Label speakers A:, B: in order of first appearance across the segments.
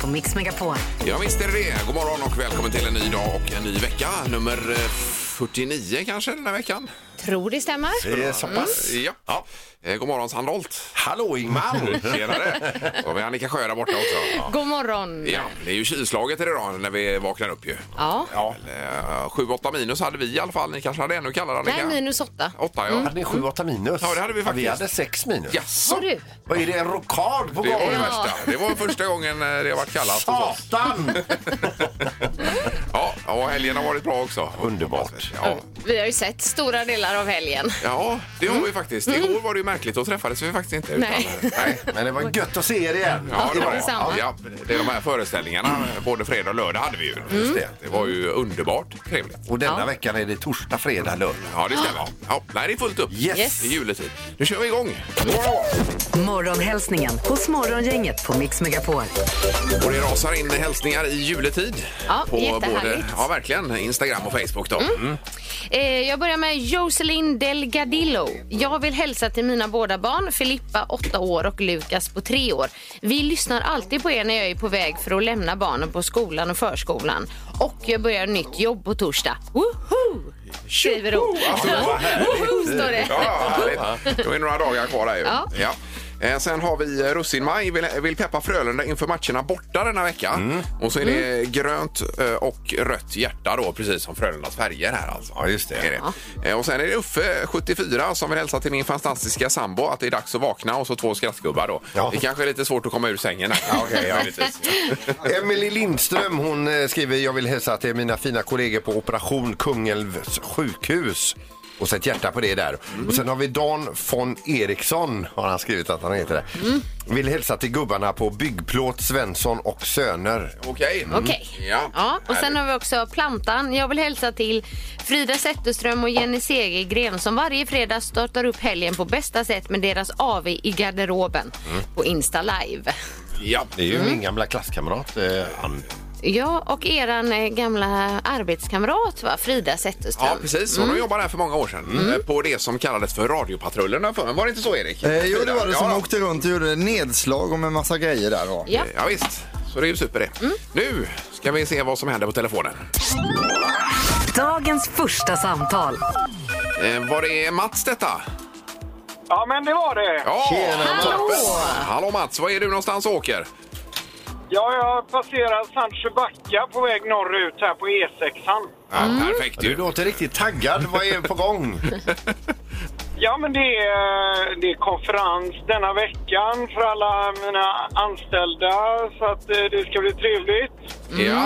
A: på Mix Megapol.
B: Ja, visst är det det. God morgon och välkommen till en ny dag och en ny vecka. Nummer eh, 49 kanske den här veckan.
C: Tror det stämmer.
D: Det är så pass.
B: Ja. Eh, God morgon Sandholt.
D: Hallå Ingmar!
B: Tjenare! Och vi har Annika Sjö där borta också. Ja.
C: God morgon.
B: Ja, det är ju kylslaget idag när vi vaknar upp ju.
C: Ja.
B: Ja. 7-8 minus hade vi i alla fall. Ni kanske hade ännu kallare
C: Nej,
B: Annika?
C: minus åtta.
B: 8 ja.
D: Hade ni 7-8 minus?
B: Ja, det hade vi faktiskt.
D: vi hade 6 minus.
B: Jaså?
C: Har du?
D: Vad är det? En rockad på
B: Det var det
D: gång?
B: värsta. Det var första gången eh, det har varit kallt hos oss.
D: Satan!
B: Ja, och helgen har varit bra också.
D: Underbart.
B: Ja.
C: Vi har ju sett stora delar av helgen.
B: Ja, det har vi faktiskt. Igår var det ju märkligt, då träffades vi faktiskt inte. eh,
C: Nej.
B: nej.
D: Men det var gött att se er igen.
B: Ja, det, var det.
C: detsamma.
B: ja, det är de här föreställningarna. Både fredag och lördag hade vi ju.
D: det.
B: Det var ju underbart trevligt.
D: Och denna
C: Ja.
D: veckan är det torsdag, fredag, lördag.
B: Ja, det stämmer. Ja, nej, det är fullt upp.
D: Yes.
C: Yes.
B: Det är juletid. Nu kör vi igång.
A: Morgonhälsningen hos Morgongänget på Mix Megapol.
B: Och det rasar in hälsningar i juletid.
C: Ja, jättehärligt.
B: ja, verkligen. Instagram och Facebook då. Mm.
C: Eh, jag börjar med Jocelyn Delgadillo. Jag vill hälsa till mina båda barn, Filippa 8 år och Lukas på 3 år. Vi lyssnar alltid på er när jag är på väg för att lämna barnen på skolan och förskolan. Och jag börjar nytt jobb på torsdag. Woho! Skriver hon. Woho står det.
B: Ja, härligt. Då är det några dagar kvar här ju.
C: Ja.
B: Eh, Sen har vi eh, Russinmaj, vill, vill peppa Frölunda inför matcherna borta denna vecka.
D: Mm.
B: Och så är det
C: Mm.
B: grönt eh, och rött hjärta då, precis som Frölundas färger här alltså.
D: Ja, just det.
B: Är det. Eh, Och sen är det Uffe, 74, som vill hälsa till min fantastiska sambo att det är dags att vakna och så två skrattgubbar då.
D: Ja.
B: Det kanske är lite svårt att komma ur sängen. här.
D: okej, ja.
B: Möjligtvis.
D: Emily Lindström hon eh, skriver Jag vill hälsa till mina fina kollegor på Operation Kungälvs sjukhus. Och sätt hjärta på det där.
B: Mm.
D: Och sen har vi Dan von Eriksson har han skrivit att han heter det.
B: Mm.
D: Vill hälsa till gubbarna på Byggplåt Svensson och Söner.
B: Okej.
C: Okej.
B: Mm. Ja.
C: Ja, och sen
B: Härligt.
C: har vi också plantan. Jag vill hälsa till Frida Zetterström och Jenny Segergren som varje fredag startar upp helgen på bästa sätt med deras AV i garderoben
B: Mm.
C: på Insta Live.
B: ja.
D: Det är ju min gamla klasskamrat. Eh, han.
C: Ja, och eran eh, gamla arbetskamrat va? Frida Zetterström.
B: Ja, precis. Hon jobbade här för många år sedan eh, på det som kallades för radiopatrullerna förr. Var det inte så, Erik?
E: Eh, jo, det var det som
B: ja,
E: åkte runt och gjorde nedslag om en massa grejer där. Då.
C: Ja.
B: Eh, Ja, visst. Så det är ju super det. Nu ska vi se vad som händer på telefonen.
A: Dagens första samtal.
B: Eh, var det Mats detta?
F: Ja, men det var det.
B: Ja!
C: Hallå!
B: Hallå Mats, var är du någonstans och åker?
F: Ja, jag passerar Sandsjö backa på väg norrut här på E E6.
B: Ja, Perfekt
D: Du
B: ju.
D: låter riktigt taggad. Vad är på gång?
F: Ja, men det är, det är konferens denna veckan för alla mina anställda så att eh, det ska bli trevligt.
B: Ja.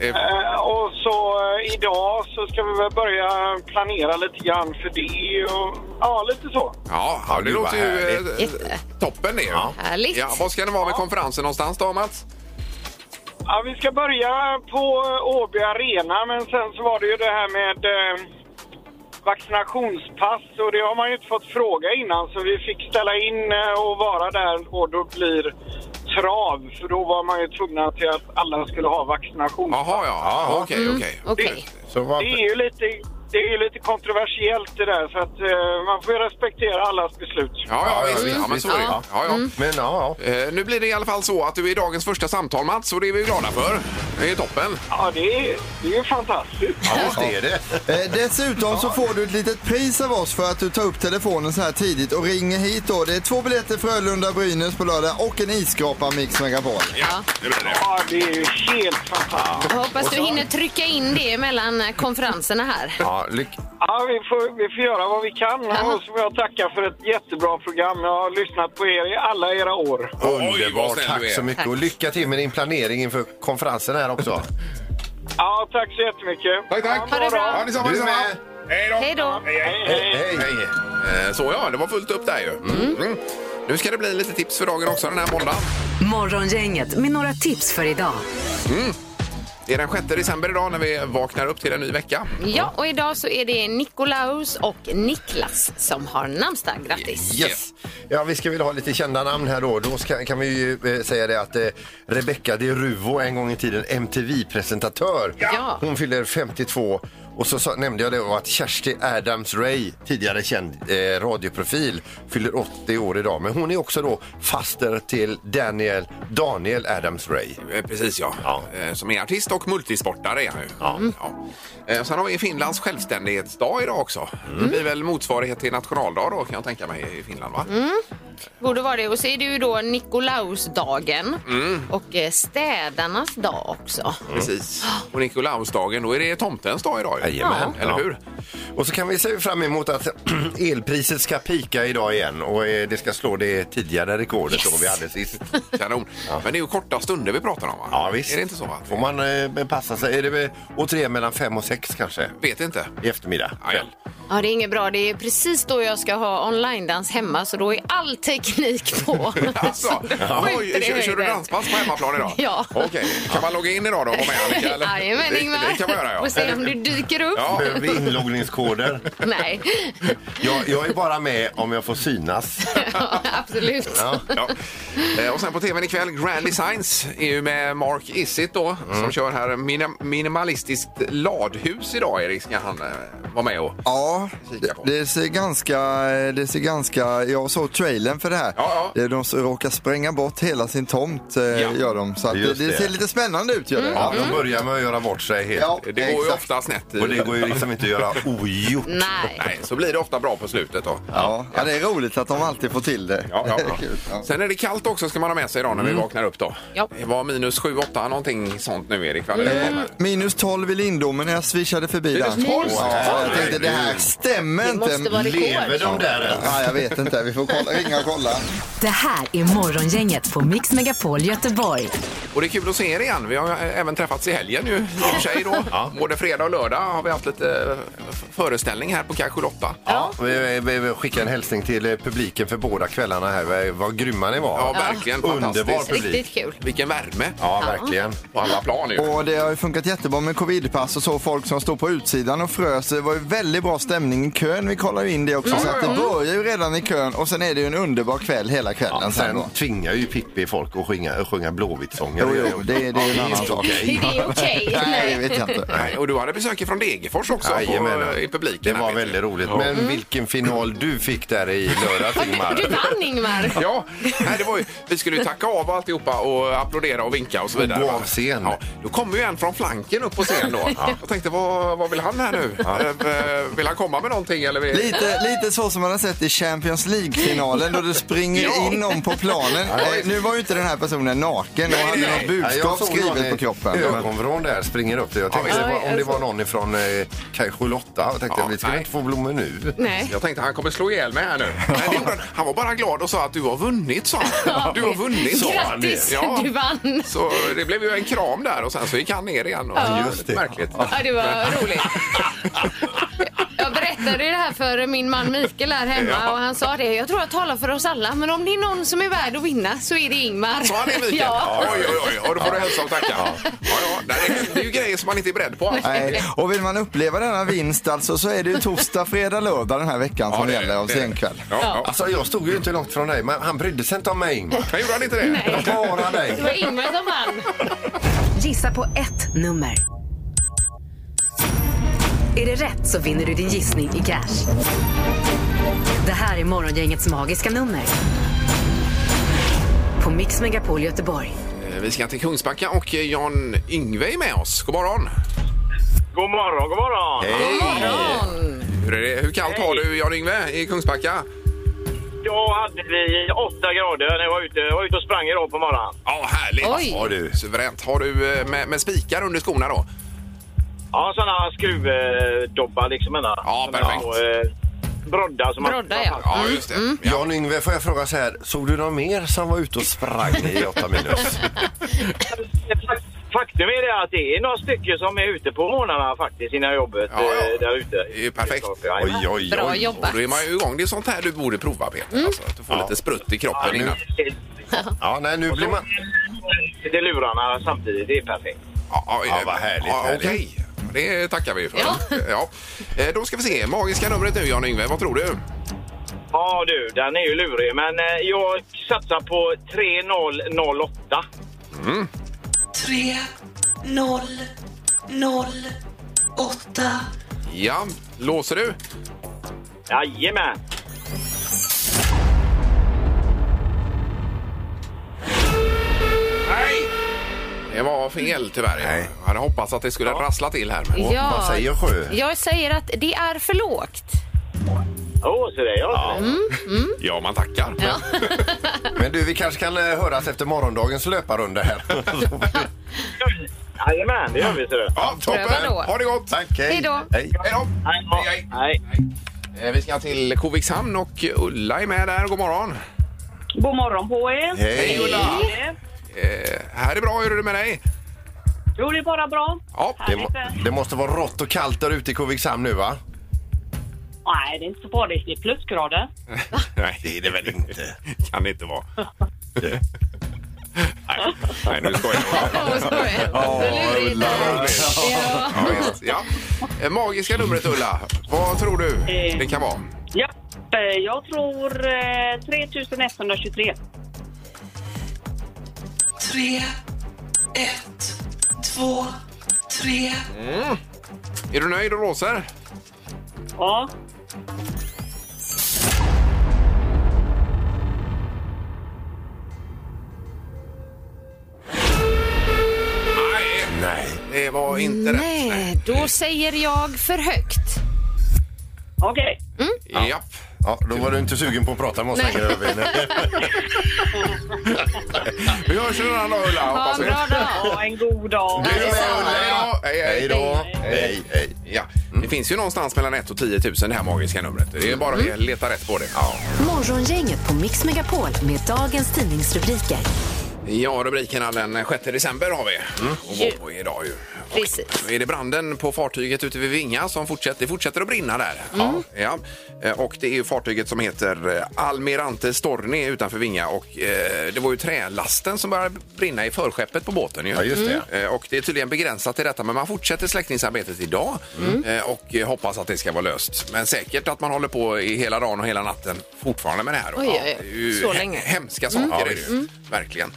B: Eh,
F: Eh, Och så eh, idag så ska vi väl börja planera lite grann för det och ja, lite så.
B: Ja, ja, det
D: Gud, vad
B: låter ju eh,
D: härligt.
C: Jätte.
B: toppen det. Ja.
C: Härligt.
B: Ja, vad ska det vara med konferensen någonstans då Mats?
F: Ja, vi ska börja på eh, Åby Arena, men sen så var det ju det här med eh, vaccinationspass och det har man ju inte fått fråga innan så vi fick ställa in eh, och vara där och då blir trav för då var man ju tvungna till att alla skulle ha vaccination.
B: Jaha, ja. Okej, okej.
C: Okej.
D: Så vad,
F: Det är ju lite, det är ju lite kontroversiellt det där så att eh, man får ju respektera allas beslut.
B: Ja, ja, visst. Ja, men så är det. Ja,
C: Ja.
B: ja.
D: men ja, ja.
B: Eh, Nu blir det i alla fall så att du är dagens första samtal Mats och det är vi glada för. Det är toppen.
F: Ja, det är, det är ju fantastiskt.
D: ja, visst är det.
E: Eh, dessutom så får du ett litet pris av oss för att du tar upp telefonen så här tidigt och ringer hit. Då. Det är två biljetter Frölunda-Brynäs på lördag och en isskrapa Mix Megapol.
B: Ja, det blir det.
F: Ja, det är ju helt fantastiskt.
C: Jag hoppas du hinner trycka in det mellan eh, konferenserna här.
D: Ja, lyck-
F: Ja, vi får, vi får göra vad vi kan. Och så får jag tacka för ett jättebra program. Jag har lyssnat på er i alla era år.
B: Oj, vad
D: Underbart.
B: snäll du
D: Tack
B: är.
D: så mycket.
C: Tack.
D: Och lycka till med din planering inför konferensen här också.
F: Ja, tack så jättemycket.
B: Tack, tack.
C: Ha det bra.
B: Ja, detsamma,
D: Du
B: detsamma.
D: med.
B: Hej då.
C: Hej då.
D: Hej, hej.
B: eh, Hej. Eh, Så ja, det var fullt upp där ju. Mm. Nu ska det bli lite tips för dagen också den här måndagen.
A: Morgongänget med några tips för idag.
B: Det är den 6 december idag när vi vaknar upp till en ny vecka.
C: Ja, och idag så är det Nikolaus och Niklas som har namnsdag. Grattis!
D: Yes. Ja, vi ska väl ha lite kända namn här då. Då ska, kan vi ju eh, säga det att eh, Rebecca de Ruvo, en gång i tiden MTV-presentatör,
C: Ja.
D: hon fyller 52. Och så, sa- nämnde jag det var att Kersti Adams Ray, tidigare känd eh, radioprofil, fyller 80 år idag. Men hon är också då faster till Daniel, Daniel Adams Ray.
B: Eh, Precis ja.
D: Ja.
B: Eh, Som är artist och multisportare är han ju. Ja. Eh, Sen har vi Finlands självständighetsdag idag också. Det blir väl motsvarighet till nationaldag då kan jag tänka mig i Finland va?
C: Borde vara det. Och så är det ju då Nikolausdagen
B: Mm.
C: och eh, städarnas dag också.
B: Precis. Och Nikolausdagen, då är det tomtens dag idag ju.
D: Jajamän.
B: Eller hur?
D: Och så kan vi se fram emot att elpriset ska pika idag igen och eh, det ska slå det tidigare rekordet då vi hade sist.
B: Kanon. Men det är ju korta stunder vi pratar om va?
D: Ja visst.
B: Är det inte så? Va?
D: Får man eh, passa sig? Är det väl återigen mellan fem och sex kanske?
B: Vet inte.
D: I eftermiddag?
B: Aj,
D: kväll.
C: Ja, det är inget bra. Det är precis då jag ska ha online-dans hemma, så då är all teknik på.
B: Alltså, oj,
C: skjuter i
B: kör, kör du
C: höjden.
B: danspass på hemmaplan idag?
C: Ja.
B: Okej, kan man logga in idag då och vara med Annika? eller?
C: Jajamän,
B: Det-
C: Ingmar.
B: Det kan man göra ja.
C: Och se om du dyker upp.
B: Ja.
D: Behöver vi inloggningskoder?
C: Nej,
D: Jag, jag är bara med om jag får synas.
C: ja, absolut.
B: Ja. Eh, Och sen på tvn ikväll, Grand Designs är ju med Mark Isitt då
D: Mm.
B: som kör här minim- minimalistiskt ladhus idag Erik ska han eh, vara med och...
E: Ja,
B: Kika på.
E: det ser ganska, eh, det ser ganska, jag såg trailern för det här.
B: Ja, ja.
E: Det är De som råkar spränga bort hela sin tomt eh, gör de. Så att det,
D: Just
E: det
D: det.
E: ser lite spännande ut gör det.
B: Mm.
D: Ja, de börjar med att göra bort sig helt.
E: Ja.
B: Det går ju
E: Exakt.
B: ofta snett. i-
D: Och det går ju liksom inte att göra ogjort.
C: Nej.
B: Nej, så blir det ofta bra på slutet då.
E: Ja, ja, det är roligt att de alltid får till det.
B: Ja, ja,
E: Kul,
B: ja. Sen är det kallt också ska man ha med sig idag när
D: Mm.
B: vi vaknar upp då.
C: Ja.
B: Det var minus 7-8 någonting sånt nu Erik. va? Eller hur
D: Mm.
B: var det?
E: Minus 12 i Lindome när jag swishade förbi
B: Minus
E: där.
B: 12?
E: Ja, jag tänkte det här stämmer
C: Det
E: inte.
C: måste vara
D: Lever
C: rekord.
D: de där ens?
E: Ja, jag vet inte, vi får kolla, ringa och kolla.
A: Det här är Morgongänget på Mix Megapol Göteborg.
B: Och det är kul att se er igen. Vi har ju även träffats i helgen nu i och för sig då. Både fredag och lördag har vi haft lite eh, föreställning här på Kanske Lotta.
D: Ja, vi, vi, vi skickar en hälsning till eh, publiken för båda kvällarna här. Vad- Vad grymma ni var.
B: Ja, verkligen
D: Underbar
B: fantastiskt.
D: publik.
C: Riktigt kul.
B: Vilken värme
D: Ja, verkligen.
B: på alla plan ju.
E: Och det har ju funkat jättebra med covidpass och så. Folk som stod på utsidan och frös. Det var ju väldigt bra stämning i kön. Vi kollar ju in det också. Så att det börjar ju redan i kön och sen är det ju en underbar kväll hela kvällen.
D: Ja,
E: sen då.
D: sen tvingar ju Pippi folk att sjunga, sjunga Blåvittsånger.
E: Jo, jo, det, det är en annan
D: inte
E: sak.
D: okej.
C: Är det okej?
E: Nej, det vet jag inte.
B: Nej, och du hade besök från Degerfors också
D: Jajamän.
B: på, i publiken.
D: Det
B: här,
D: var
B: vet du.
D: väldigt roligt. Men vilken final du fick där i lördags, Ingmar.
C: Du vann, Ingmar.
B: Ja, nej, det var ju, vi skulle ju tacka av alltihopa och applådera och vinka och så vidare.
D: gå
B: va?
D: av scen.
B: Ja, då kommer ju en från flanken upp på scen då. Jag tänkte, vad, vad vill han här nu? Eh, Vill han komma med någonting eller? Vill...
E: Lite, lite så som man har sett i Champions League-finalen då det springer
B: Ja.
E: in någon på planen. Eh, Nu var ju inte den här personen naken och hade
B: nej,
E: något
B: nej.
D: Ja,
E: budskap
D: såg någon
E: skrivet
D: i
E: på kroppen.
D: Ögonvrån där springer upp det. Jag tänkte
C: Ja,
D: det var,
C: jag
D: om det
C: såg.
D: var någon ifrån eh, kanske Lotta. Jag tänkte
B: Ja,
D: vi skulle
B: nej.
D: inte få blommor nu.
C: Nej.
B: Jag tänkte han kommer slå ihjäl mig här nu. Men det gjorde han. han var bara glad och sa att du har vunnit, sa han. Du har vunnit, sa han.
C: Grattis,
B: Ja.
C: du vann.
B: Så det blev ju en kram där och sen så gick han ner igen. Och
D: Ja. Just det.
B: Märkligt.
C: Ja, det var roligt. Jag berättade ju det här för min man Mikael här hemma
B: Ja.
C: och han sa det. Jag tror jag talar för oss alla, men om det är någon som är värd att vinna så är det Ingmar.
B: Sa han det Mikael?
C: Ja.
B: Oj, oj, oj. Och då får du hälsa och tacka. Ja. Ja, Nej, det händer ju grejer som man inte är beredd på.
E: Nej. Och vill man uppleva denna vinst alltså så är det ju torsdag, fredag, lördag den här veckan som
B: det är det.
E: gäller av
B: Det är det.
E: senkväll.
B: Ja, ja.
D: Alltså jag stod ju inte långt från dig, men han brydde sig inte om mig Ingmar.
B: Men gjorde han inte det?
D: Jag klarar
C: Det
D: dig.
C: var Ingmar som vann.
A: Gissa på ett nummer. Är det rätt så vinner du din gissning i cash. Det här är Morgongängets magiska nummer. På Mix Megapol Göteborg.
B: Eh, Vi ska till Kungsbacka och eh, Jan Yngve är med oss. God morgon!
F: God morgon, god morgon!
B: Hur, är det? Hur kallt har du Jan Yngve i Kungsbacka?
F: Då hade vi åtta grader när jag var ute, jag var ute och sprang idag på morgonen.
B: Ja, härligt!
C: Oj.
B: Har du. Suveränt. Har du eh, med, med spikar under skorna då?
F: Ja, sådana skruvdobbar liksom. Ena.
B: Ja, perfekt.
F: eh, Broddar som
C: Broddar,
F: man...
C: ja.
B: Ja, just det.
C: Mm.
B: Ja.
D: Jan Yngve, får jag fråga så här, såg du någon mer som var ute och sprang i 8 minus?
F: Fak- Faktum är det att det är några stycken som är ute på morgnarna faktiskt, sina jobbet
B: Ja, ja.
F: eh, där ute.
B: Det är ju perfekt.
F: Ja,
D: Oj, oj, oj.
C: Bra
B: Och
C: jobbat. Mm.
B: Då är man ju igång. Det är sånt här du borde prova Peter. Alltså, att du får lite sprutt i kroppen
D: nu-
B: innan.
D: Ja, nej, nu blir man...
F: Lite lurarna samtidigt, det är perfekt.
B: Ja,
D: Ja, vad härligt, härligt.
B: Okej, det tackar vi för.
C: Ja.
B: Ja. Eh, Då ska vi se, magiska numret nu Jan-Yngve, vad tror du?
G: Ja du, den är ju lurig. Men eh, jag satsar på 3008.
H: 3 0 0 8
B: Ja, låser du?
G: Jajamän!
B: Nej! Det var fel tyvärr.
D: Nej.
B: Jag hade hoppats att det skulle rassla till här. Men...
C: Ja.
D: Vad säger Sjö?
C: Jag säger att det är för lågt.
G: Åh, så det är jag. Mm.
B: Ja, man tackar.
D: Men du, vi kanske kan eh, höras efter morgondagens löparrunda här.
G: Jajamän, det gör vi. Ser du.
B: Ja,
C: Pröva
B: toppen!
C: då.
B: Ha det gott!
D: Tack,
C: Hej då.
D: Hej.
B: Hej då!
G: Hej då. Hej.
B: Eh, Vi ska till Kovikshamn och Ulla är med där. God morgon!
I: God morgon på er!
D: Hej.
B: Ulla!
I: Eh,
B: Eh, här är bra. Hur är det med dig?
I: Jo, det är bara bra.
B: Ja,
D: Det, må- det måste vara rått och kallt där ute i Kovikshamn nu, va?
I: Nej, det är inte så farligt. Det är plusgrader.
B: Nej, det är det väl inte. kan det inte vara. Eh. Nej. Nej, nu skojar jag.
C: Vad skoj. Vad lurigt det är. Ja.
B: Ja, visst. ja. Eh, Magiska numret, Ulla. Vad tror du det kan vara?
I: Ja. Eh, Jag tror eh, 3123.
H: 3 1 2 3
B: Är du nöjd och låser?
I: Ja.
B: Nej,
D: Nej.
B: det var inte rätt. Nej.
C: Nej, då säger jag för högt.
I: Okej.
B: Japp.
D: Ja, då var du inte sugen på att prata med oss
C: Nej.
D: längre. Övi. Nej.
B: Vi hörs en annan dag, Ulla.
C: Ha
B: Hoppas
C: en
B: vi.
C: bra dag.
I: Ja, en god dag.
D: Du är med,
B: Hej
D: Ulla.
B: då.
D: Hej
B: Hej, hej.
D: då. Hej, hej. Mm.
B: Ja, det finns ju någonstans mellan 1 och 10 000 det här magiska numret. Det är bara
C: Mm.
B: att leta rätt på det. Ja.
A: Morgongänget på Mix Megapol med dagens tidningsrubriker.
B: Ja, rubrikerna den 6 december har vi
C: Mm.
B: att gå på idag ju.
C: Precis.
B: Är det branden på fartyget ute vid Vinga som fortsätter, det fortsätter att brinna där? Ja. ja. Eh, Och det är ju fartyget som heter eh, Almirante Storni utanför Vinga och eh, det var ju trälasten som började brinna i förskeppet på båten ju.
D: Ja, just det.
B: Eh, Och det är tydligen begränsat till detta men man fortsätter släckningsarbetet idag
D: Mm.
B: eh, och eh, hoppas att det ska vara löst. Men säkert att man håller på i hela dagen och hela natten fortfarande med det här.
C: Oj,
B: Ja,
C: oj, oj.
B: det är ju
C: Så
B: he-
C: länge. Mm.
B: Hemska saker är det ju. Verkligen.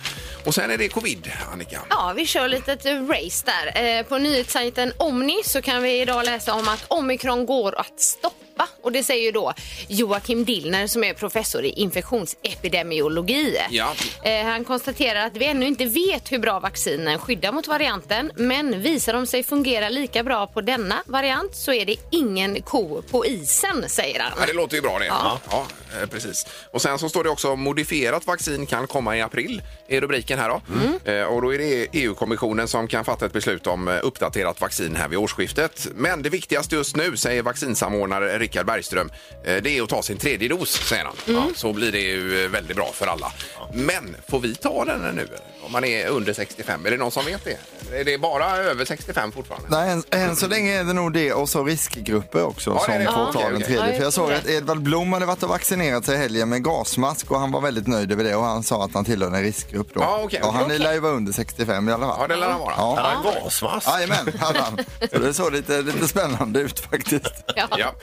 B: Och sen är det covid, Annika.
C: Ja, vi kör lite ett race där. Eh, På nyhetssajten Omni så kan vi idag läsa om att omikron går att stoppa. Och det säger ju då Joakim Dillner som är professor i infektionsepidemiologi.
B: Ja.
C: Eh, Han konstaterar att vi ännu inte vet hur bra vaccinen skyddar mot varianten men visar de sig fungera lika bra på denna variant så är det ingen ko på isen, säger han.
B: Ja, det låter ju bra det. Ja.
C: Ja.
B: eh, precis. Och sen så står det också modifierat vaccin kan komma i april är rubriken här då. Eh, och då är det EU-kommissionen som kan fatta ett beslut om eh, uppdaterat vaccin här vid årsskiftet. Men det viktigaste just nu, säger vaccinsamordnare Rickard Bergström, eh, det är att ta sin tredje dos, säger han. Ja, så blir det ju eh, väldigt bra för alla. Men får vi ta den här nu? Om man är under 65, är det någon som vet det? Är det bara över 65 fortfarande?
E: Nej, än, än så länge är det nog det och så riskgrupper också
B: Ja, det är
E: som
B: det. Ja.
E: får ta
B: Okej,
E: den
B: okej.
E: tredje.
C: Ja,
E: För jag
C: jag
E: såg
C: tror
E: att Edvard Blom hade varit och vaccinerat sig i helgen med gasmask och han var väldigt nöjd över det och han sa att han tillhör en riskgrupp då.
B: Ja, okej,
E: och han
B: okej.
E: lär ju vara under 65 i alla fall.
B: Ja, det lär han vara.
E: Ja.
D: Hade han gasmask?
E: Jajamän, hade han. Så det såg lite, lite spännande ut faktiskt.
B: Ja.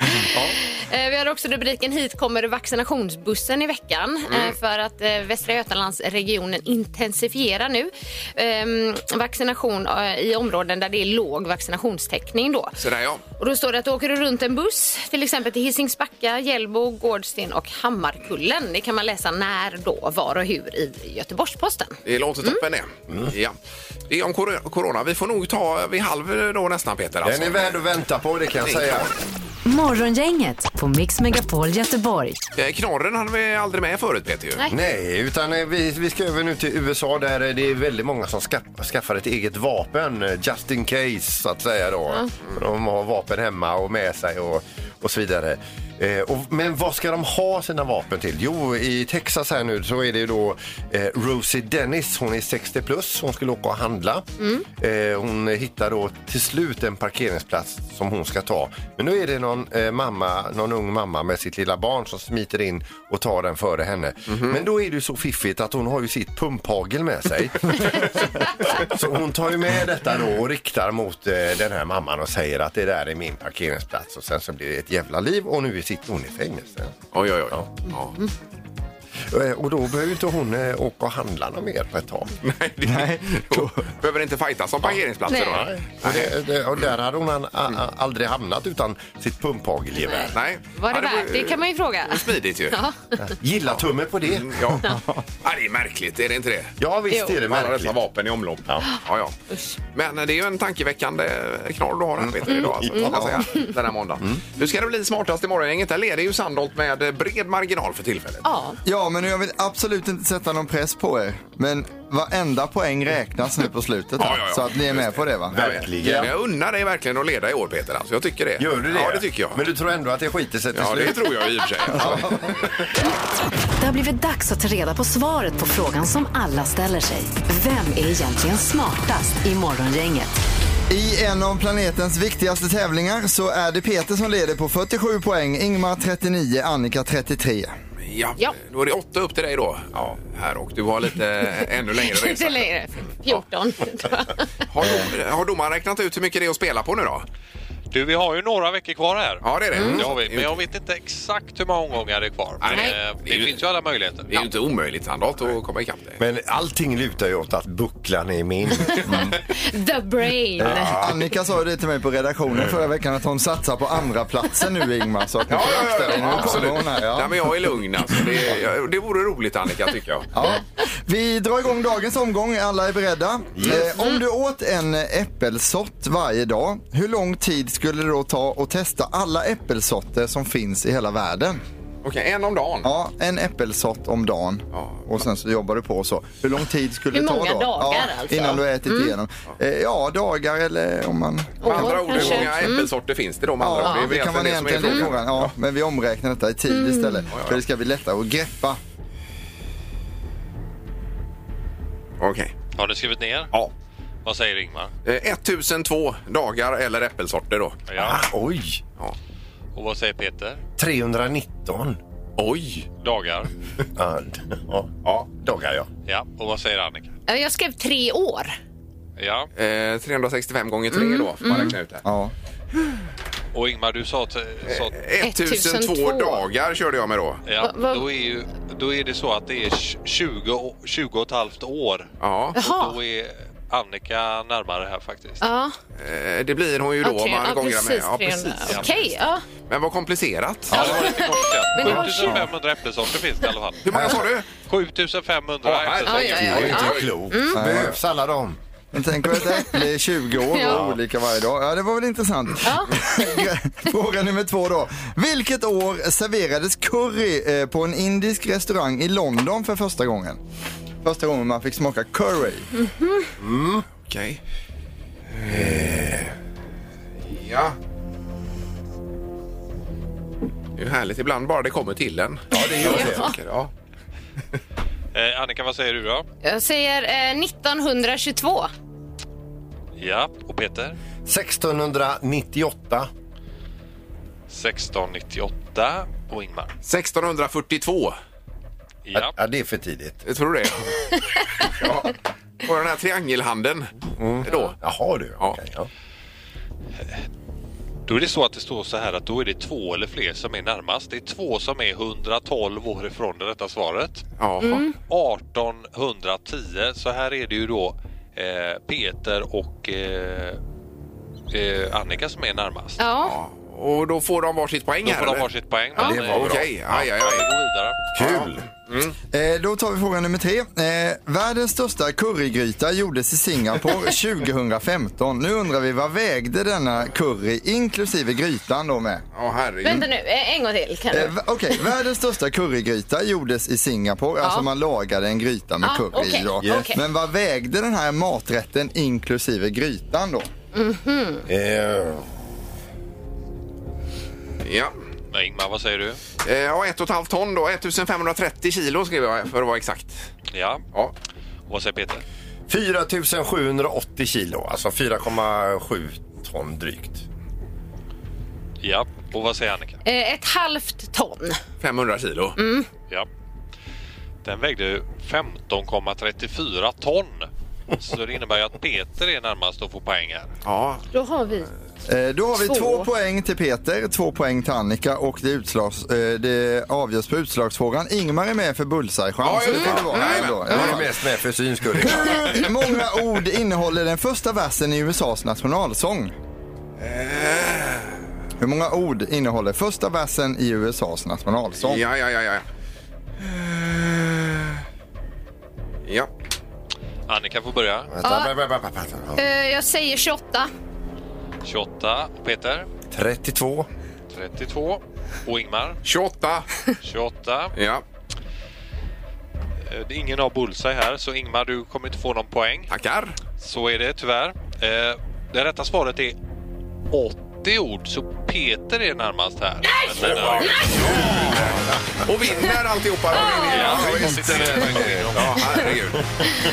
C: Eh, Vi har också rubriken Hit kommer vaccinationsbussen i veckan
B: Mm.
C: eh, för att eh, Västra Götalandsregionen intensifierar nu ehm, vaccination eh, i områden där det är låg vaccinationstäckning. Då.
B: Så där ja.
C: Och då står det att åker du runt en buss, till exempel till Hisingsbacka, Hjällbo, Gårdsten och Hammarkullen. Det kan man läsa när, då, var och hur i Göteborgs-Posten.
B: Det låter
C: Mm.
B: toppen det. Ja. Det är om kor- corona. Vi får nog ta vid halv då nästan Peter. Alltså.
D: Den är värd att vänta på, det kan jag
B: Det är
D: säga.
B: klart.
A: Morgongänget på Mix Megapol Göteborg.
B: Eh, Knorren hade vi aldrig med förut Peter ju.
C: Nej.
D: Nej, utan eh, vi, vi ska över nu till USA där eh, det är väldigt många som ska- skaffar ett eget vapen, eh, just Mm. in case så att säga då. De har vapen hemma och med sig och, och så vidare. Eh, och, men vad ska de ha sina vapen till? Jo, i Texas här nu så är det ju då eh, Rosie Dennis. Hon är 60 plus. Hon skulle åka och handla. Eh, hon hittar då till slut en parkeringsplats som hon ska ta. Men nu är det någon, eh, mamma, någon ung mamma med sitt lilla barn som smiter in och tar den före henne. Men då är det ju så fiffigt att hon har ju sitt pumphagel med sig. Så hon tar ju med detta då och riktar mot eh, den här mamman och säger att det där är min parkeringsplats och sen så blir det ett jävla liv och nu sitter hon i fängelse.
B: Oj, oj, oj. Ja.
C: Mm.
D: Eh, och då behöver ju inte hon eh, åka och handla något mer på ett tag.
B: Nej, det, Nej. behöver inte fightas om parkeringsplatser då?
C: Nej.
D: Och, det, det, och där hade hon an, a, a, aldrig hamnat utan sitt pumphagelgevär.
B: Nej.
C: Var det
B: Ja, Mm.
C: värt? Det kan man ju fråga.
B: Det var smidigt ju.
C: Ja.
D: Gilla tumme på det.
B: Mm, Ja. ja, det är märkligt, är det inte det?
D: Ja visst är det
B: Med alla dessa
D: märkligt.
B: vapen i omlopp. Ja. Ja, Men eh, det är ju en tankeväckande eh, knorr du har
C: Mm.
B: här Peter idag, alltså, kan man säga, den här måndagen. Nu ska det bli smartast i morgongänget. Där leder ju Sandholt med eh, bred marginal för tillfället.
C: ja.
E: Ja, men jag vill absolut inte sätta någon press på er. Men varenda poäng räknas nu på slutet. här,
B: Ja, ja, ja.
E: Så att ni är med på det va?
B: Jag vet.
D: Verkligen.
B: Men jag unnar dig verkligen att leda i år Peter. Alltså, jag tycker det.
D: Gör du det?
B: Ja, det tycker jag.
D: Men du tror ändå att det skiter sig till
B: Ja, det
D: slut?
B: tror jag i och för sig. Alltså.
A: Det har blivit dags att ta reda på svaret på frågan som alla ställer sig. Vem är egentligen smartast i morgongänget?
E: I en av planetens viktigaste tävlingar så är det Peter som leder på 47 poäng, Ingmar 39, Annika 33.
B: Ja.
C: Ja.
B: Då är det åtta upp till dig då. Ja. Här och du har lite eh, ännu längre resa.
C: Inte längre. 14.
B: Har, dom, har domaren räknat ut hur mycket det är att spela på nu då?
J: Du, vi har ju några veckor kvar här.
B: Ja, det är det.
J: Det har vi, men jag vet inte exakt hur många omgångar det är kvar.
B: Nej.
J: Men, eh,
B: Det är ju-
J: det finns ju alla möjligheter.
B: Det är ju inte omöjligt Sandholt att komma ikapp dig.
D: Men allting lutar ju åt att bucklan är min.
C: The brain.
B: Ah.
E: Annika sa ju det till mig på redaktionen förra veckan att hon satsar på andra platsen nu Ingmar. Så att ni får akta er. Nu kommer hon
B: Nej,
E: här. Ja.
B: men jag är lugn alltså. Det, jag- det vore roligt Annika tycker jag.
E: Ja. Vi drar igång dagens omgång. Alla är beredda. Eh, om du åt en äppelsort varje dag, hur lång tid skulle det då ta att testa alla äppelsorter som finns i hela världen?
B: Okej, en om dagen.
E: Ja, en äppelsort om dagen.
B: Ja.
E: Och sen så jobbar du på så. Hur lång tid skulle
C: Hur
E: det ta då?
C: många dagar
E: ja,
C: alltså?
E: Innan du har ätit igenom. Eh, ja, dagar eller om man...
B: Med andra
C: År,
B: ord, hur
C: kanske. Mm.
B: många äppelsorter finns det då? Med andra
E: Ja,
B: ord?
E: det
B: väl
E: kan man
B: som är
E: egentligen det är
B: frågan.
E: frågan. Ja, men vi omräknar detta i tid
C: Mm.
E: istället. För det ska bli lättare att greppa.
B: Okej.
J: Har du skrivit ner?
B: Ja.
J: Vad säger Ingmar?
B: Eh, 1002 dagar eller äppelsorter då.
J: Ja.
D: Ah, Oj!
B: Ja.
J: Och vad säger Peter?
D: 319.
B: Oj!
J: Dagar.
D: Ja, ja.
B: Ja.
D: dagar ja.
J: Ja. Och vad säger Annika?
C: Ja, Jag skrev tre år.
J: Ja.
B: Eh, 365 gånger 3 då, får man räkna ut det.
E: Ja.
J: Och Ingmar, du sa... T- sa
B: 1002
C: 1002
B: dagar körde jag med då.
J: ja.
C: Va- va-
J: Då, är ju, då är det så att det är tj- 20, å- 20 och ett halvt år.
B: Ja,
C: Jaha.
J: Då är Annika närmare här faktiskt.
C: Ja,
B: eh, det blir hon ju då
C: ja,
B: om
C: tre-
B: man
C: ja,
B: gånger med.
C: precis.
B: Ja,
C: 300.
B: precis.
C: Okej, ja.
B: Men vad komplicerat.
J: Ja, det var lite
C: Men det var
J: komplicerat. 7500 äppelsorter finns det i alla fall.
B: Hur många sa du?
J: 7500
B: Ja, här-
J: äppelsorter.
C: Oj, oj,
D: Det är
C: oj.
D: ju
C: Ja.
D: inte klokt.
B: Mm.
D: Behövs alla dem?
E: Men tänk på ett äpple i 20 år
C: Ja.
E: och olika varje dag. Ja, det var väl intressant. Fråga nummer två då. Vilket år serverades curry eh, på en indisk restaurang i London för första gången? Första gången man fick smaka curry.
B: Okej. Eh, ja. Det är ju härligt ibland bara det kommer till en. Ja, det gör det. Ja. Ja.
J: Eh, Annika, vad säger du då?
C: Jag säger eh, 1922.
J: Ja, och Peter?
D: 1698.
J: 1698 och Ingmar.
B: 1642.
J: Ja.
D: Ja, det är för tidigt.
B: Jag tror det. ja. Och den här triangelhandeln
J: Mm.
B: då.
D: Jaha du.
B: Ja.
D: okej, ja.
J: Då är det så att det står så här att då är det två eller fler som är närmast. Det är två som är 112 år ifrån det rätta svaret.
B: Jaha.
J: Mm. 1810, så här är det ju då eh, Peter och eh, eh, Annika som är närmast.
C: Ja.
B: Och då får de varsitt poäng
J: Då
B: här?
J: får de
B: eller?
J: varsitt poäng.
C: Ja,
J: men,
B: det
J: eh,
B: var bra. Okej, aj, aj,
J: Vi
B: aj.
J: går vidare.
D: Kul!
E: Eh, då tar vi fråga nummer tre. Eh, världens största currygryta gjordes i Singapore 2015. Nu undrar vi vad vägde denna curry inklusive grytan då med?
B: Ja, herregud.
C: Vänta nu, eh, en gång till. Kan
E: Eh,
C: du?
E: v- Okej, världens största currygryta gjordes i Singapore. Alltså man lagade en gryta med
C: Ja,
E: curry i.
C: Ah, okej,
E: Då.
C: Yes. okej.
E: Men vad vägde den här maträtten inklusive grytan då?
D: Eh,
B: Ja.
J: Nej, Ingmar, vad säger du?
B: Eh, Ja, ett och ett halvt ton då. 1530 kilo skrev jag för att vara exakt.
J: Ja.
B: ja.
J: Vad säger Peter?
D: 4780 kilo, alltså 4,7 ton drygt.
J: Ja. Och vad säger Annika?
C: Eh, Ett halvt ton.
B: 500 kilo.
C: Mm.
J: Ja. Den vägde ju 15,34 ton. Så det innebär ju att Peter är närmast att få poäng här.
B: Ja.
C: Då har vi...
E: Eh, Då har vi två.
C: Två.
E: poäng till Peter, två poäng till Annika och det, utslags, eh, det avgörs på utslagsfrågan. Ingmar är med för bullseye-chans. så det får det vara ändå, i alla
D: Jag är
E: fall.
D: mest med för syns skull.
E: Många ord innehåller den första versen i USAs nationalsång. Hur många ord innehåller första versen i USAs nationalsång?
B: Ja, ja, ja, ja. Ja.
J: Annika får börja.
D: Vänta, vänta, vänta, vänta.
C: Eh, Jag säger 28.
J: 28. Peter?
D: 32.
J: 32. Och Ingmar?
B: 28.
J: 28.
B: Ja,
J: Eh, det är Ingen har bullseye här, så Ingmar, du kommer inte få någon poäng.
B: tackar.
J: Så är det tyvärr. Eh, Det rätta svaret är 80 ord, så Peter är närmast här. Men eh, den är-
B: Och vinner alltihopa. Då vinner jag.
J: Ja, visst.
B: Ja, herregud.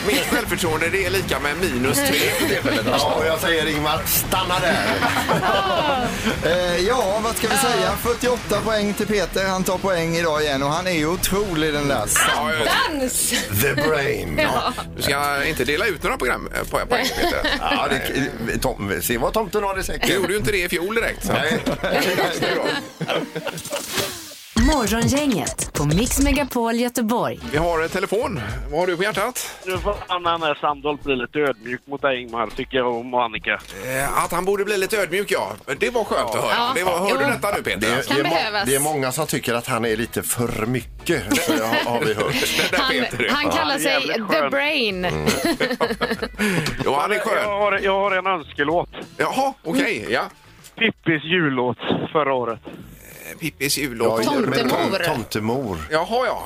B: Mitt självförtroende det är lika med minus tre. på tillfället, alltså.
D: Ja, och jag säger Ingmar, stanna där.
E: Eh, ja, vad ska vi säga? 48 poäng till Peter. Han tar poäng idag igen och han är ju otrolig den där.
B: Ja, ja,
C: Dans!
D: The brain.
B: ja. Du ska inte dela ut några program eh, po- poäng, Peter.
D: Ja, det, tom, se vad tomten har i
B: Du
D: säcken.
B: gjorde ju inte det i fjol direkt. Så.
D: Nej.
B: Det är bra.
A: Morgongänget på Mix Megapol Göteborg.
B: Vi har eh, telefon. Vad har du på hjärtat?
F: Nu får annan här Sandholt bli lite ödmjuk mot dig Ingmar, tycker jag om och Annika.
B: Eh, Att han borde bli lite ödmjuk, ja. Det var skönt att höra.
C: Ja.
B: Det var, hörde
C: Jo.
B: du detta nu, Peter?
D: Det,
B: Alltså,
D: det, är
C: behövas.
D: det är många som tycker att han är lite för mycket, så jag, har vi hört.
B: Det där
C: Han,
B: Peter, ja. Mm.
C: han kallar
F: Ja,
C: sig
F: jävligt
C: The
F: skön.
C: Brain.
B: Jo, han är skön.
F: Jag har, jag har en önskelåt.
B: Jaha, okej. ja.
F: Pippis jullåt förra året.
B: Eh, Pippis jullåt.
D: Ja,
C: Tomtemor.
D: Tomtemor.
B: Jaha, ja.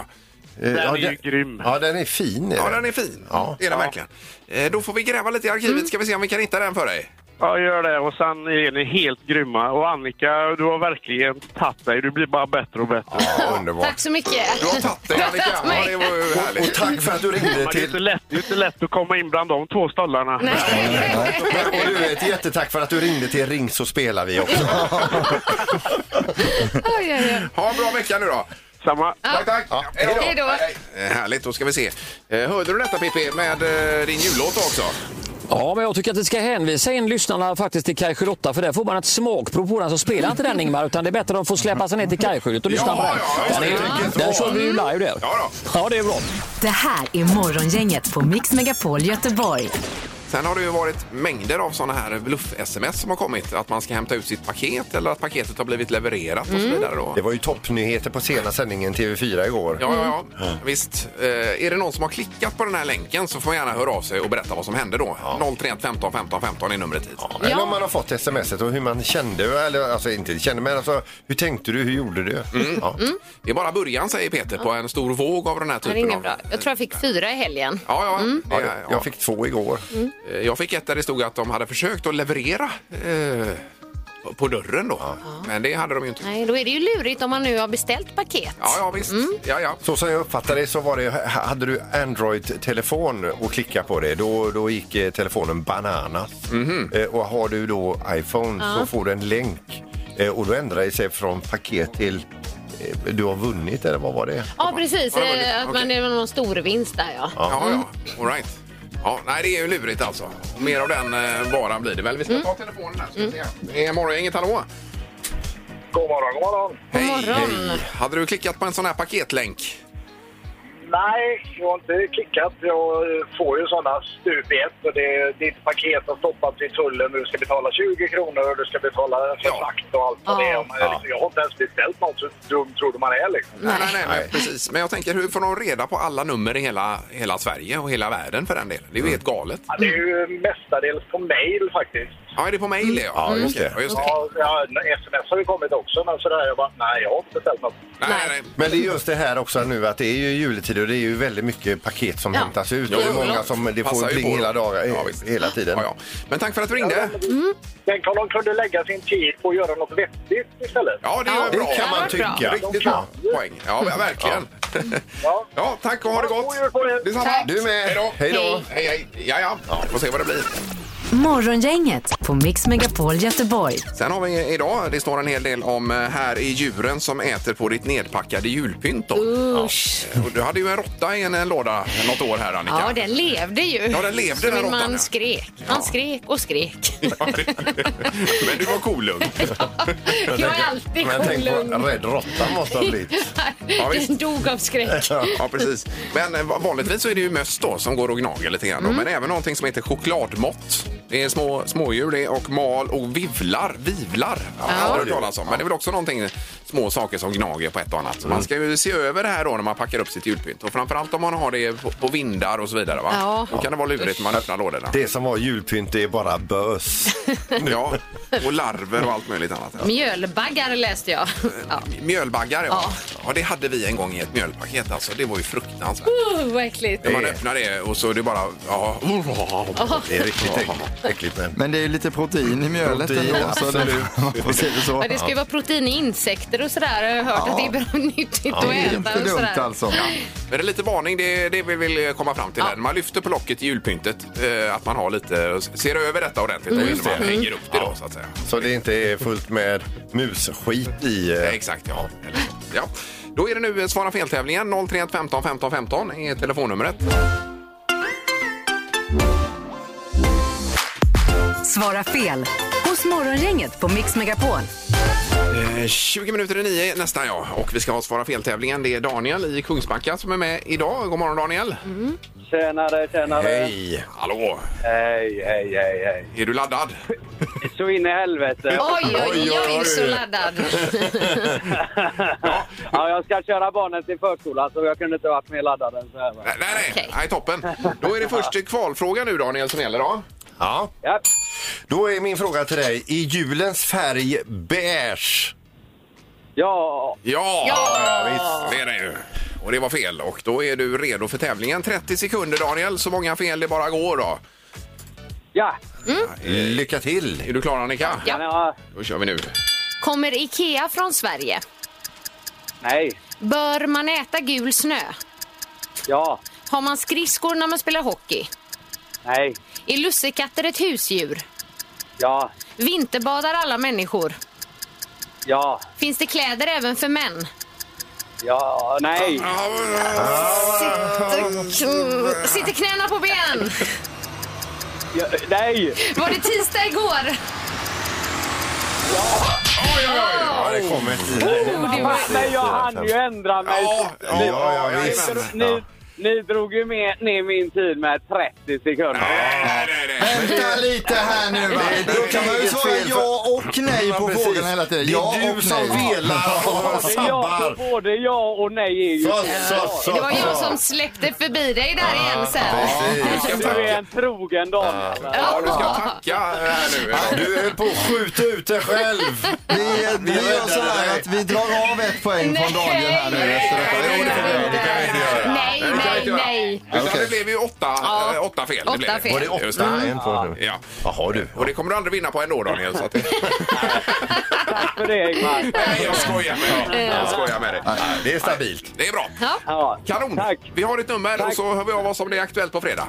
D: Den
F: är ju grym.
D: Ja, den är fin.
B: Ja, den är fin.
D: Ja.
B: Det är den verkligen. Eh, Då får vi gräva lite i arkivet. Ska vi se om vi kan hitta den för dig?
F: Ja, gör det. Och sen är ni helt grymma. Och Annika, du har verkligen tagit dig. Du blir bara bättre och bättre.
D: Ja, underbart.
C: Tack så mycket.
B: Du har tagit den,
C: Du har
B: Annika.
C: tagit mig.
B: Ja, det var ju
D: Och
B: härligt.
D: tack för att du ringde
F: Men det är, inte
D: till...
F: lätt, det är inte lätt att komma in bland de två stollarna.
D: Och du, ett jättetack för att du ringde till Ring så spelar vi också.
C: Oj, oj, oj.
B: Ha en bra vecka nu då.
F: Samma.
B: Tack, tack.
D: Ja.
C: Hej då.
B: Eh, Härligt, då ska vi se. Eh, Hörde du detta Pippi med eh, din jullåt också?
K: Ja, men jag tycker att vi ska hänvisa in lyssnarna faktiskt till Kaj 8 för där får man ett smakprov på den. Så spela inte den Ingmar, utan det är bättre att de får släppa sig ner till Kaj och lyssna
B: Ja,
K: på den.
B: ja, just
K: den,
B: det.
K: är, den kör vi ju live där.
B: Ja
K: Ja, det är bra.
A: Det här är Morgongänget på Mix Megapol Göteborg.
B: Sen har det ju varit mängder av såna här bluff-sms som har kommit. Att man ska hämta ut sitt paket eller att paketet har blivit levererat och så
K: Mm.
B: vidare. Då.
D: Det var ju toppnyheter på sena sändningen TV4 igår.
B: Ja, ja, ja. Visst. Eh, är det någon som har klickat på den här länken så får man gärna höra av sig och berätta vad som hände då. 031 15 15 15 är numret hit.
D: Eller om man har fått smset och hur man kände, eller alltså inte kände, men alltså hur tänkte du, hur gjorde du? Ja.
B: Det är bara början, säger Peter, på en stor våg av den här
C: Det är
B: typen
C: inget
B: av...
C: bra. Mm. Jag tror jag fick fyra i helgen.
B: Ja, ja. Det,
D: Ja, Mm. det-
B: ja.
D: Jag fick två igår.
B: Eh, Jag fick ett där det stod att de hade försökt att leverera eh, på dörren då. Men det hade de ju inte.
C: Nej, då är det ju lurigt om man nu har beställt paket.
B: Ja, ja, visst.
C: Mm.
B: Ja, ja.
D: Så som jag uppfattade det så var det, hade du Android-telefon och klicka på det, då, då gick eh, telefonen bananas. Eh, Och har du då iPhone så får du en länk eh, och då ändrar det sig från paket till eh, du har vunnit eller vad var det?
C: Ja, precis.
B: Ja, det var det.
C: Eh, Att man är någon stor vinst där, ja.
B: Ja, ja. All right. Ja, nej, det är ju lurigt alltså. Mer av den eh, varan blir det väl. Vi
C: Mm.
B: ska ta telefonen här. Ska vi se. Det är morgon, inget hallå?
F: God morgon, god morgon.
B: Hej,
C: morgon.
B: Hade du klickat på en sån här paketlänk?
F: Nej, jag har inte klickat. Jag får ju sådana stup i ett. Och det, ditt paket har stoppats i tullen och du ska betala 20 kronor och du ska betala för
B: Ja.
F: frakt och allt vad det är.
C: Ja.
F: Och man är liksom, Jag har inte ens beställt något, så dum tror du man är liksom.
B: Nej, nej, nej, Men, precis. Men jag tänker, hur får de reda på alla nummer i hela, Mm. hela Sverige och hela världen för den delen? Det är ju helt galet.
F: Ja, det är ju mestadels på mail faktiskt.
B: Ja, är det på mejl det? Mm. Ja, just det. Ja, just det.
L: Ja, ja, sms har ju kommit också, men sådär, jag bara, nej, jag har inte beställt något.
B: Nej,
D: Men det är just det här också nu att det är ju juletid och det är ju väldigt mycket paket som
B: Ja.
D: hämtas ut.
B: Jo,
D: och det är
B: jo,
D: många
B: jo.
D: som det får
B: Passar ju
D: pling
B: på.
D: hela, dagar, eh,
B: Ja,
D: hela tiden.
B: Ja, ja. Men tack för att du ringde.
L: Tänk om de kunde lägga sin tid på att göra något vettigt istället.
B: Ja, det,
L: är
B: är bra.
L: De
B: Riktigt
L: kan
B: bra poäng. Ja, men verkligen. Mm. Ja. tack och ha det gott. Detsamma.
A: Tack.
B: Du med. Hej då.
A: Hej då.
B: Hej, hej. Ja, ja. ja. Får se vad det blir.
A: Morgongänget på Mix Megapol Göteborg.
B: Sen har vi idag, det står en hel del om eh, här i djuren som äter på ditt nedpackade julpynt. Då. Ja. Och Du hade ju en råtta i en eh, låda något år här Annika.
C: Ja, den levde ju.
B: Ja, den levde,
C: Så
B: den
C: min
B: råttan,
C: man
B: ja.
C: skrek. Han skrek och skrek.
B: Men du var kolugn.
C: Jag är alltid
D: Men tänk
C: kolugn.
D: på rädd råtta måste ha blivit.
B: Ja, visst.
C: den dog av skräck.
B: Ja, precis. Men eh, vanligtvis så är det ju möss då som går och gnager lite grann. då.
C: Mm.
B: Men även någonting som heter chokladmått. Det är små, smådjur det och mal och vivlar. Vivlar har jag aldrig hört talas om. Men det är väl också någonting, eh, små saker som gnager på ett och annat. Så
C: Mm.
B: man ska ju se över det här då när man packar upp sitt julpynt. Och framförallt om man har det på, på vindar och så vidare. Va?
C: Ja.
B: Då kan det vara lurigt när man öppnar lådorna.
D: Det som var julpynt det är bara bös.
B: Ja, och larver och allt möjligt annat.
C: Mjölbaggar läste jag. Ja.
B: Mjölbaggar, ja.
C: Ja.
B: ja. Det hade vi en gång i ett mjölpaket. Alltså. Det var ju fruktansvärt.
C: Uh, vad äckligt.
B: När man öppnar det och så är det bara... Ja.
D: Det är riktigt äck- äckligt. Men.
E: Men det är ju lite protein i mjölet
D: Protein,
E: ändå. Så det,
D: absolut.
E: man får se det så.
C: Ja, det ska ju vara protein i insekter och sådär. Jag har hört att det är bra nyttigt att äta och sådär.
E: alltså.
B: Ja. Men det är lite varning, det, det vi vill komma fram till. här. När man lyfter på locket i julpyntet, eh, att man har lite, ser över detta ordentligt
D: Mm.
B: och innan man
D: Mm.
B: hänger upp det då så att säga.
D: Så det inte är fullt med musskit i... eh,
B: Exakt, ja. Eller så. ja. Då är det nu eh, Svara fel-tävlingen. 031 15 15 15 är telefonnumret.
A: Svara fel hos Morgongänget på Mix Megapol.
B: Eh, 20 minuter i nio nästan ja. Och vi ska ha Svara fel-tävlingen. Det är Daniel i Kungsbacka som är med idag. God morgon Daniel!
M: Mm. Tjenare, tjenare.
B: Hej! Hallå!
M: Hej, hej, hej, hej.
B: Är du laddad?
M: Så in i helvete.
C: Oj, oj, jag är så laddad.
M: ja, jag ska köra barnen till förskolan så jag kunde inte varit mer laddad än så här. va.
B: Nej, nej, nej, toppen. Då är det först kvalfråga nu Daniel som gäller då.
D: Ja. Då är min fråga till dig. I julens färg beige.
M: Ja.
B: Ja,
D: Ja,
B: visst. det är det ju. Och det var fel och då är du redo för tävlingen. 30 sekunder Daniel, så många fel det bara går då.
M: Ja.
D: Lycka till!
B: Är du klar Annika?
M: Ja.
B: Då kör vi nu.
C: Kommer Ikea från Sverige?
M: Nej.
C: Bör man äta gul snö?
M: Ja.
C: Har man skridskor när man spelar hockey?
M: Nej.
C: Är lussekatter ett husdjur?
M: Ja.
C: Vinterbadar alla människor?
M: Ja.
C: Finns det kläder även för män?
M: Ja. Nej.
C: Sitter, sitter knäna på ben?
M: Ja, nej.
C: Var det tisdag igår?
D: Mm. Ja, det kommer ett
M: Men jag hann ju ändra mig.
D: Ja, ja,
M: Ni-
D: visst.
M: Ni, ni drog ju med, ner min tid med 30 sekunder.
E: Vänta lite här nu va. Då kan man ju svara ja och nej på frågorna hela tiden.
D: Det är
E: Ja
D: du
E: och
D: som
E: nej.
D: velar och
M: Det är jag,
D: sabbar.
M: både ja och nej är ju...
D: Så, så, så.
C: Det var jag som släppte förbi dig där igen sen.
M: Du är en trogen Daniel.
B: Ja, du ska tacka här nu.
D: Du höll på att skjuta ut dig själv.
E: Vi, vi gör så här att vi drar av ett poäng från Daniel här nu. efter detta. Jo, det får vi göra.
C: Nej, nej, nej.
B: Utan
E: Okej.
B: det blev ju åtta,
C: Ja.
B: eh, åtta fel.
C: Åtta
B: blev
C: fel. Var det åtta?
B: Just det.
D: Nej, en på nu.
B: Ja.
D: Jaha du.
B: Och det kommer du aldrig vinna på ändå Daniel. Så att det...
M: Tack för det Ingmar.
B: Nej, jag skojar med dig. Jag skojar med dig.
D: Nej, Det är stabilt.
B: Det är bra.
M: Ja,
B: Kanon! Vi har ditt nummer och så hör vi av oss om det är aktuellt på fredag.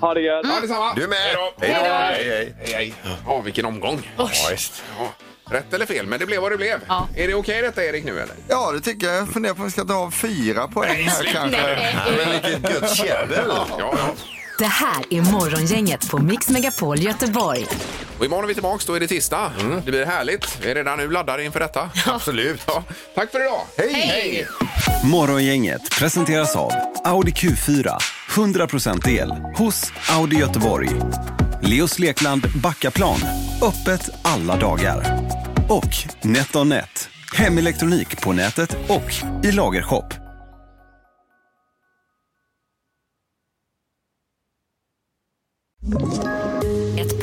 M: ha det gött.
B: Ja, detsamma.
D: Du är med.
B: Hej då.
D: Hej då.
B: Hej, hej. hej. Ja, vilken omgång.
D: Ja, visst.
B: Ja. Rätt eller fel, men det blev vad det blev. Är det okej detta Erik nu eller?
E: Ja, det tycker jag. Jag funderar på om vi ska ta av fyra poäng här kanske.
D: Men vilket gött käbbel.
B: Ja, ja.
A: Det här är Morgongänget på Mix Megapol Göteborg.
B: Och imorgon är vi tillbaka, då är det tisdag. Det blir härligt. Vi är redan nu laddade inför detta.
D: Absolut.
B: Ja. Tack för idag!
C: Hej!
N: Morgongänget presenteras av Audi Q4. 100% el hos Audi Göteborg. Leos Lekland Backaplan. Öppet alla dagar. Och NetOnNet. Hemelektronik på nätet och i lagershop.
A: Ett